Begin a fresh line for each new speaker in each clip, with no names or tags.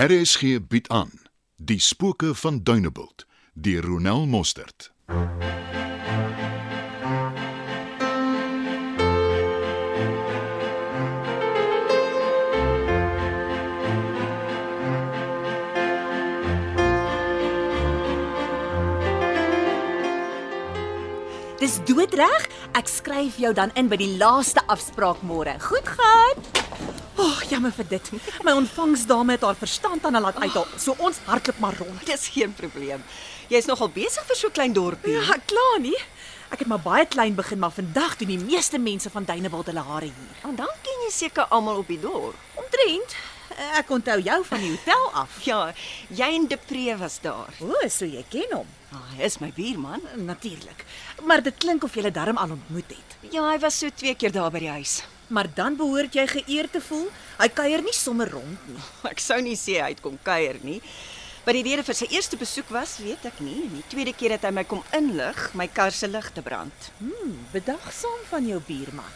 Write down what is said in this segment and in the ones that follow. RSG bied aan Die spooke van Duneveld deur Ronel Mostert.
Dis doodreg. Ek skryf jou dan in by die laaste afspraak môre. Goed gaan.
O, oh, jammer vir dit. My ontvangsdame het haar verstand aan haar laat uithaal. So ons hardloop maar rond.
Dis geen probleem. Jy's nogal besig vir so 'n klein dorpie.
Ja, klaar nie. Ek het maar baie klein begin, maar vandag doen die meeste mense van Duinewald hulle hare hier.
en dan ken jy seker almal op die dorp.
Omtrent. Ek onthou jou van die hotel af.
Ja, jy en Depree was daar.
O, so jy ken hom.
Ah, hy is my buurman.
Natuurlik. Maar dit klink of jy hulle darm al ontmoet het.
Ja, hy was so twee keer daar by die huis.
Maar dan behoort jy geëer te voel. Hy kuier nie sommer rond nie.
Ek sou nie sê hy het kom kuier nie. Wat die rede vir sy eerste besoek was, weet ek nie. En die tweede keer het hy my kom inlig, my kar se ligte brand.
Hmm, bedagsaam van jou buurman.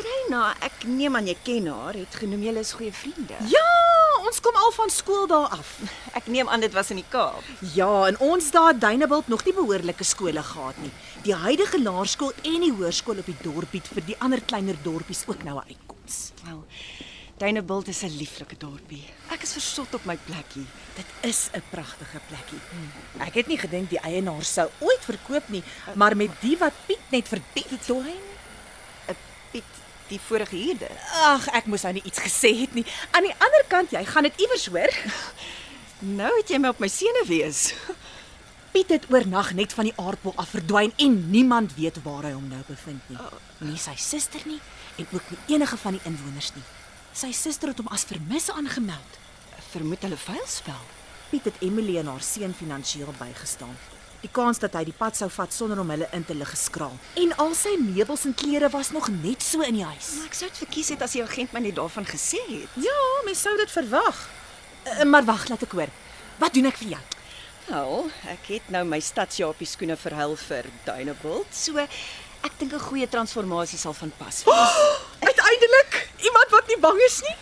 Treina, ek neem aan jy ken haar, het genoem julle is goeie vriende.
Ja, ons kom al van skool daar af.
Ek neem aan dit was in die Kaap.
Ja, en ons daar Duinebult nog nie behoorlike skole gehad nie. Die huidige laerskool en die hoërskool op die dorp bied vir die ander kleiner dorpies ook nou 'n uitkoms.
Wel, Duinebult is 'n lieflike dorpie. Ek is versot op my plekkie.
Dit is 'n pragtige plekkie. Ek het nie gedink die eienaar sou ooit verkoop nie, maar met die wat Piet net verdien het, Dorin.
Eh, Piet, die vorige huurder.
Ag, ek moes nou nie iets gesê het nie. Aan die ander kant, jy gaan dit iewers hoor.
Nou het jy my op my sene wees.
Piet het oornag net van die aardbol af verdwyn en niemand weet waar hy hom nou bevind nie.
Oh,
Nie sy suster nie en ook nie enige van die inwoners nie. Sy suster het hom as vermis aangemeld.
Vermoed hulle vuilspel.
Piet het Emily en haar seun finansiëel bygestaan. Die kans dat hy die pad sou vat sonder om hulle in te lig geskraal. En al sy meubels en klere was nog net so in die huis.
Maar ek sou dit verkies het as die agent my net daarvan gesê het.
Ja, mens sou dit verwag. Uh, maar wag, laat ek hoor. Wat doen ek vir jou?
Wel, ek het nou my stadsjapie skoene verhuil vir Duinebult, so ek dink 'n goeie transformasie sal van pas wees.
Uiteindelik, iemand wat nie bang is nie.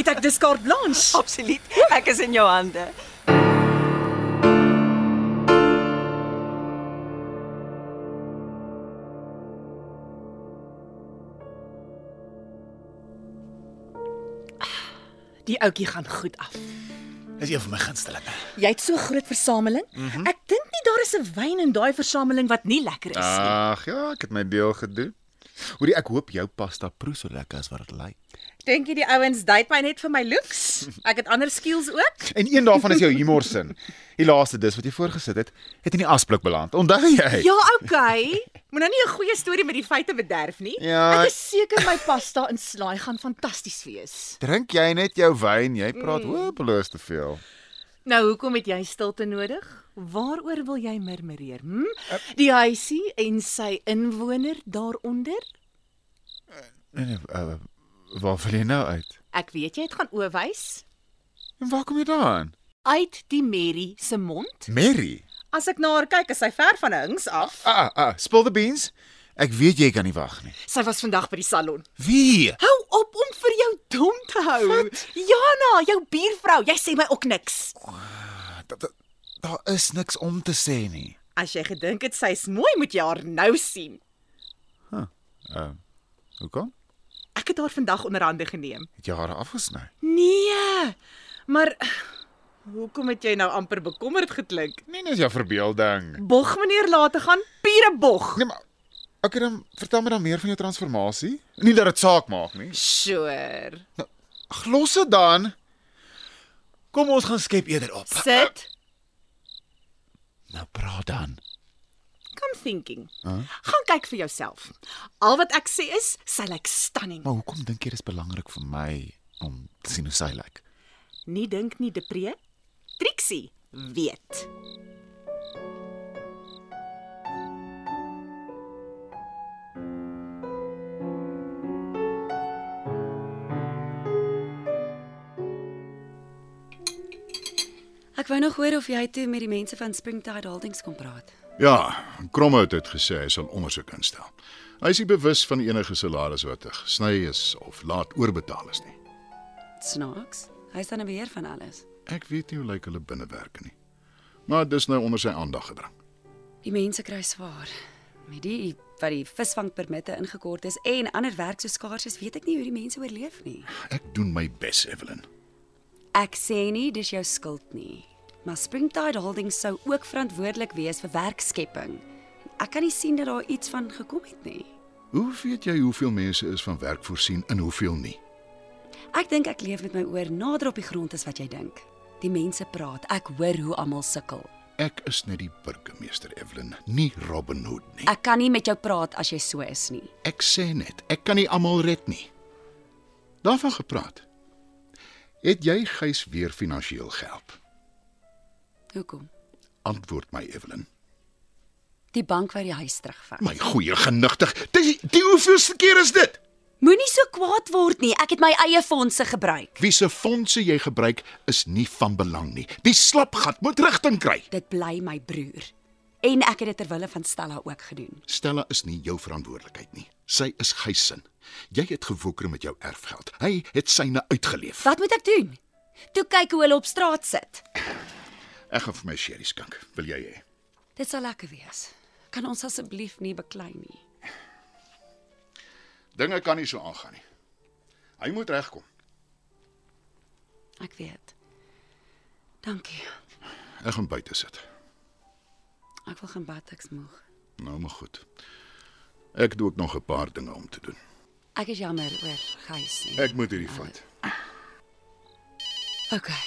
Het ek dis kaart blanche.
Absoluut. Ek is in jou hande.
Die ouetjie gaan goed af.
Dis een van my gunstelinge.
Jy het so groot versameling. Mm -hmm. Ek dink nie daar is 'n wyn in daai versameling wat nie lekker is nie.
Ag ja, ek het my deel gedoen. Hoorie, ek hoop jou pasta proe so lekker as wat dit lyk.
Dink jy die ouens date my net vir my looks? Ek het ander skills ook.
En een daarvan is jou humor sin. Die laaste dis wat jy voorgesit het, het in die asblik beland. Onthou jy?
Ja, okay. Moenie nou 'n goeie storie met die feite bederf nie.
Ja.
Ek is seker my pasta en slaai gaan fantasties wees.
Drink jy net jou wyn, jy praat mm. hopeloos te veel.
Nou, hoekom het jy stilte nodig? Waaroor wil jy murmureer? Hm? Die huisie en sy inwoner daaronder?
Nee nee, uh, waar val jy nou uit?
Ek weet jy het gaan oowys
En waar kom jy daaraan?
uit die Mary se mond.
Mary.
As ek na haar kyk, is sy ver van 'n hings af.
Ah, ah, spill the beans. Ek weet jy kan nie wag nie.
Sy was vandag by die salon.
Wie?
Hou op om vir jou dom te hou. Wat? Jana, jou buurvrou, jy sê my ook niks.
Da- da- Daar is niks om te sê nie.
As jy gedink het sy's mooi, moet jy haar nou sien.
Hoekom?
Ek het haar vandag onderhande geneem.
Het jy hare afgesny?
Nee. Maar hoekom het jy nou amper bekommerd geklink?
Nee, dis jou verbeelding.
Bog meneer laat te gaan, pure bog.
Nee, maar okay dan vertel my dan meer van jou transformasie. Nie dat dit saak maak nie.
Sure.
Ag, los dit dan. Kom ons gaan skep eerder op.
Sit.
Nou praat dan.
Come thinking. Huh? Gaan kyk vir jouself. Al wat ek sê is, sy lyk stunning.
Maar hoekom dink jy dis belangrik vir my om te sien hoe sy lyk?
Nie dink nie, Depree. Trixie weet.
Ek wou nog hoor of jy toe met die mense van Springtide Holdings kom praat.
Ja, Kromhout het gesê hy sal ondersoek instel. Hy is nie bewus van enige salaris wat gesny is of laat oorbetaal is nie.
Snaaks. Hy staan in beheer van alles.
Ek weet nie hoe lyk hulle binnewerke nie. Maar dis nou onder sy aandag gebring.
Die mense kry swaar. Met die wat die visvangpermitte ingekort is en ander werk so skaars is, weet ek nie hoe die mense oorleef nie.
Ek doen my bes, Evelyn.
Ek sê nie dis jou skuld nie, maar Springtide Holdings sou ook verantwoordelik wees vir werkskepping. Ek kan nie sien dat daar iets van gekom het nie.
Hoe weet jy hoeveel mense is van werk voorsien en hoeveel nie?
Ek dink ek leef met my oor nader op die grond as wat jy dink. Die mense praat, ek hoor hoe almal sukkel.
Ek is net die burgemeester Evelyn, nie Robin Hood nie.
Ek kan nie met jou praat as jy so is nie.
Ek sê net, ek kan nie almal red nie. Daarvan gepraat. Het jy Gys weer finansiëel gehelp?
Hoekom?
Antwoord my Evelyn.
Die bank wou die huis terugvat.
My goeie genigtig, dis die hoeveelste keer is dit?
Moenie so kwaad word nie. Ek het my eie fondse gebruik.
Wie se fondse jy gebruik is nie van belang nie. Die slapgat moet rigting kry.
Dit bly my broer. En ek het dit ter wille van Stella ook gedoen.
Stella is nie jou verantwoordelikheid nie. Sy is Gys se. Jy het gewoeker met jou erfgeld. Hy het syne uitgeleef.
Wat moet ek doen? Toe kyk hoe hulle op straat sit.
Ek gaan vir my sherry skink. Wil jy hê?
Dit sal lekker wees. Kan ons asseblief nie beklei nie.
Dinge kan nie so aangaan nie. Hy moet regkom.
Ek weet. Dankie.
Ek gaan buite sit.
Ek wil gaan bad, ek's moeg.
Nou maar goed. Ek het ook nog 'n paar dinge om te doen.
Ek is jammer oor Gys nie.
Ek moet hierdie vat.
Okay.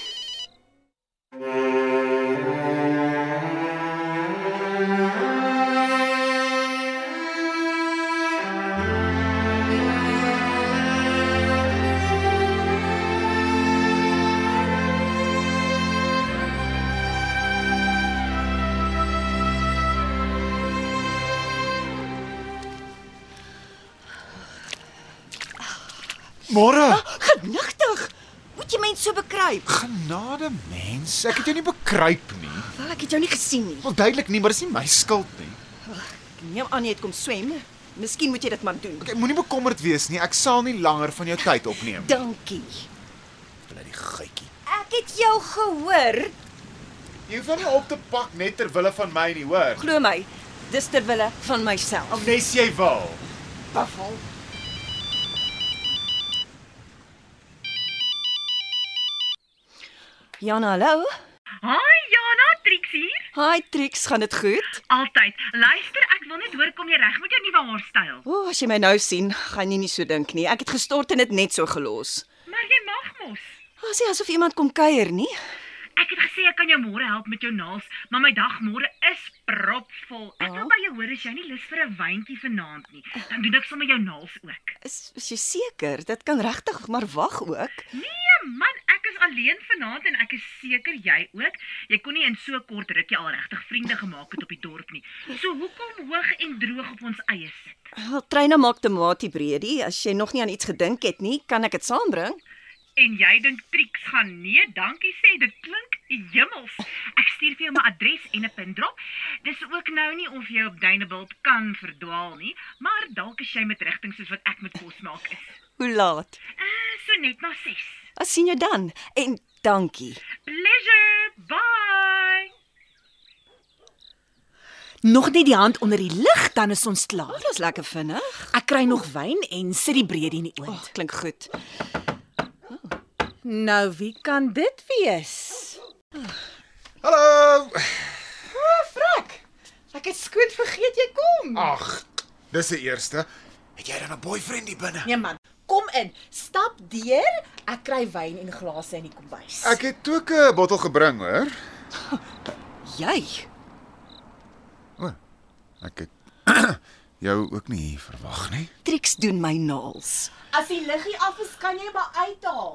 Môre.
Ah, Genigtig. Moet jy mense so bekruip?
Genade mens, ek het jou nie bekruip nie.
Wel, ek het jou nie gesien nie.
Wel duidelik nie, maar dis nie my skuld nie.
Ek neem aan jy het kom swem. Miskien moet jy dit maar doen.
Ek moenie bekommerd wees nie. Ek sal nie langer van jou tyd opneem nie.
Dankie.
Bly die gietjie.
Ek het jou gehoor.
Jy hoef hom nie op te pak net ter wille van my nie, hoor.
Glo my, dis ter wille van myself.
Of nes jy wil.
Buffel. Jana, hallo.
Hi Jana, Trix hier.
Hi Trix, gaan dit goed?
Altyd. Luister, ek wil net hoor kom jy reg met jou nuwe haarstyl?
O, oh, as jy my nou sien, gaan jy nie so dink nie. Ek het gestort en dit net so gelos.
Maar jy mag mos.
Was nie asof iemand kom kuier nie.
Ek het gesê ek kan jou môre help met jou naels, maar my dag môre is propvol. Ek wil by jou hoor as jy nie lus vir 'n wyntjie vanaand nie, dan doen ek sommer jou naels ook.
Is, is jy seker? Dit kan regtig maar wag ook.
Nee man, ek is alleen vanaand en ek is seker jy ook. Jy kon nie in so kort rukkie al regtig vriende gemaak het op die dorp nie. So hoekom hoog en droog op ons eie sit?
Wel, Treina maak tomatiebreedie. As jy nog nie aan iets gedink het nie, kan ek dit saambring.
En jy dink Trix gaan nee, dankie sê, dit klink hemels. Ek stuur vir jou my adres en 'n pin drop. Dis ook nou nie of jy op Dunebuld kan verdwaal nie, maar dalk is jy met rigting soos wat ek met kos maak is.
Hoe laat?
Uh, so net na 6.
As sien jou dan en dankie.
Pleasure. Bye.
Nog net die hand onder die lig dan is ons klaar.
Dit was lekker vinnig.
Ek kry nog wyn en sit die breedie in die oond.
Oh, klink goed.
Nou wie kan dit wees?
Hallo.
Ek het skoon vergeet jy kom.
Ag, dis die eerste. Het jy dan 'n boyfriend hier binne?
Nee man, kom in. Stap deur. Ek kry wyn en glase in die kombuis.
Ek het ook 'n bottel gebring, hoor.
Jy.
Ek het jou ook nie hier verwag nie.
Trix doen my naels.
As die liggie af is, kan jy maar uithaal.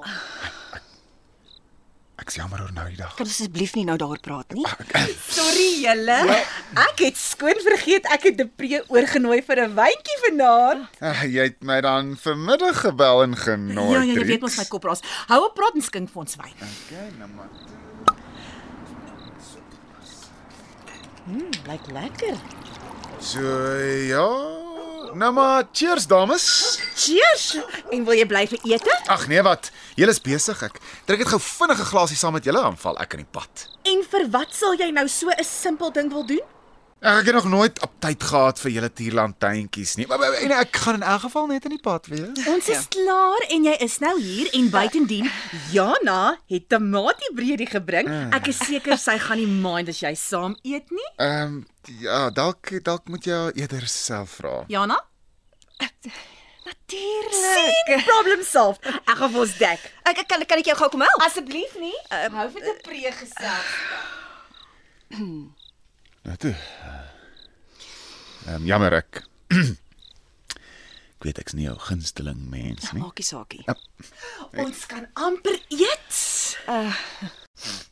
Ek's jammer oor nou die dag.
Kan asseblief nie nou daaroor praat nie.
Sorry julle. Ek het skoon vergeet ek het Depree oorgenooi vir 'n wynkie vanaand.
Ah, jy het my dan vanmiddag gebel en genooi.
Ja, ja, jy weet mos my kopraas. Hou op praat en skink vir ons wyn.
Okay, nou maar.
Lyk lekker.
So ja. Nou maar, cheers dames.
Cheers. En wil jy bly vir ete?
Ag nee, wat? Julle is besig. Ek drink dit gou vinnige glasie saam met julle aanval ek aan die pad.
En vir wat sal jy nou so 'n simpel ding wil doen?
Ek ek het nog nooit aptyd gehad vir julle tierlantuintjies nie. Maar- maar- En ek gaan in elk geval net in die pad wees.
Ons is klaar en jy is nou hier en buitendien Jana het tamatiebreedie gebring.
Ah.
Ek is seker sy gaan nie mind as jy saam eet nie.
Ehm um, ja, dalk dalk moet jy haar eerder self vra.
Jana,
Natuurlik.
sien problem solved. Ek gaan vir ons dek.
Ek ek kan kan ek jou gou kom help?
Asseblief nie. Uh, Hou vir 'n pree gesels.
Nou toe. Ehm um, jammer ek. ek weet ek's nie jou gunsteling mens nie.
Maakie saakie.
Ons kan amper eet.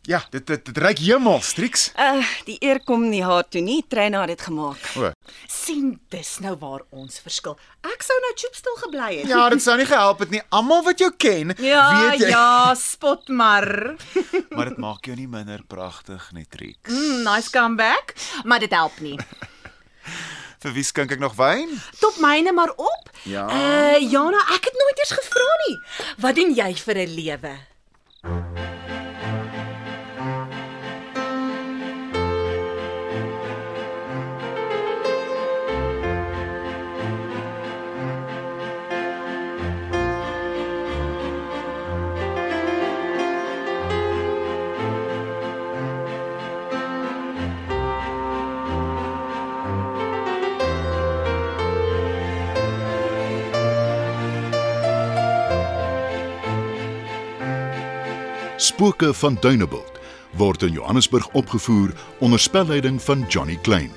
Ja, dit dit, dit reuk hemel, Strix.
Uh, die eer kom nie haar toe nie. Treina het dit
Eh.
gemaak.
O.
sien dis nou waar ons verskil. Ek sou nou choopstil gebly het.
Ja, dit sou nie gehelp het nie. Almal wat jou ken, weet jy.
ja, spot maar.
Maar dit maak jou nie minder pragtig nie, Trix.
Mm, nice comeback, maar dit help nie.
Vir wie skink ek nog wyn?
Top myne maar op.
Ja.
Eh uh, Jana, ek het nooit eers gevra nie. Wat doen jy vir 'n lewe?
Spooke van Dunebuld word in Johannesburg opgevoer onder spelleiding van Johnny Klein.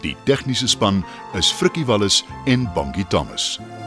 Die tegniese span is Frikkie Wallis en Bongie Thomas.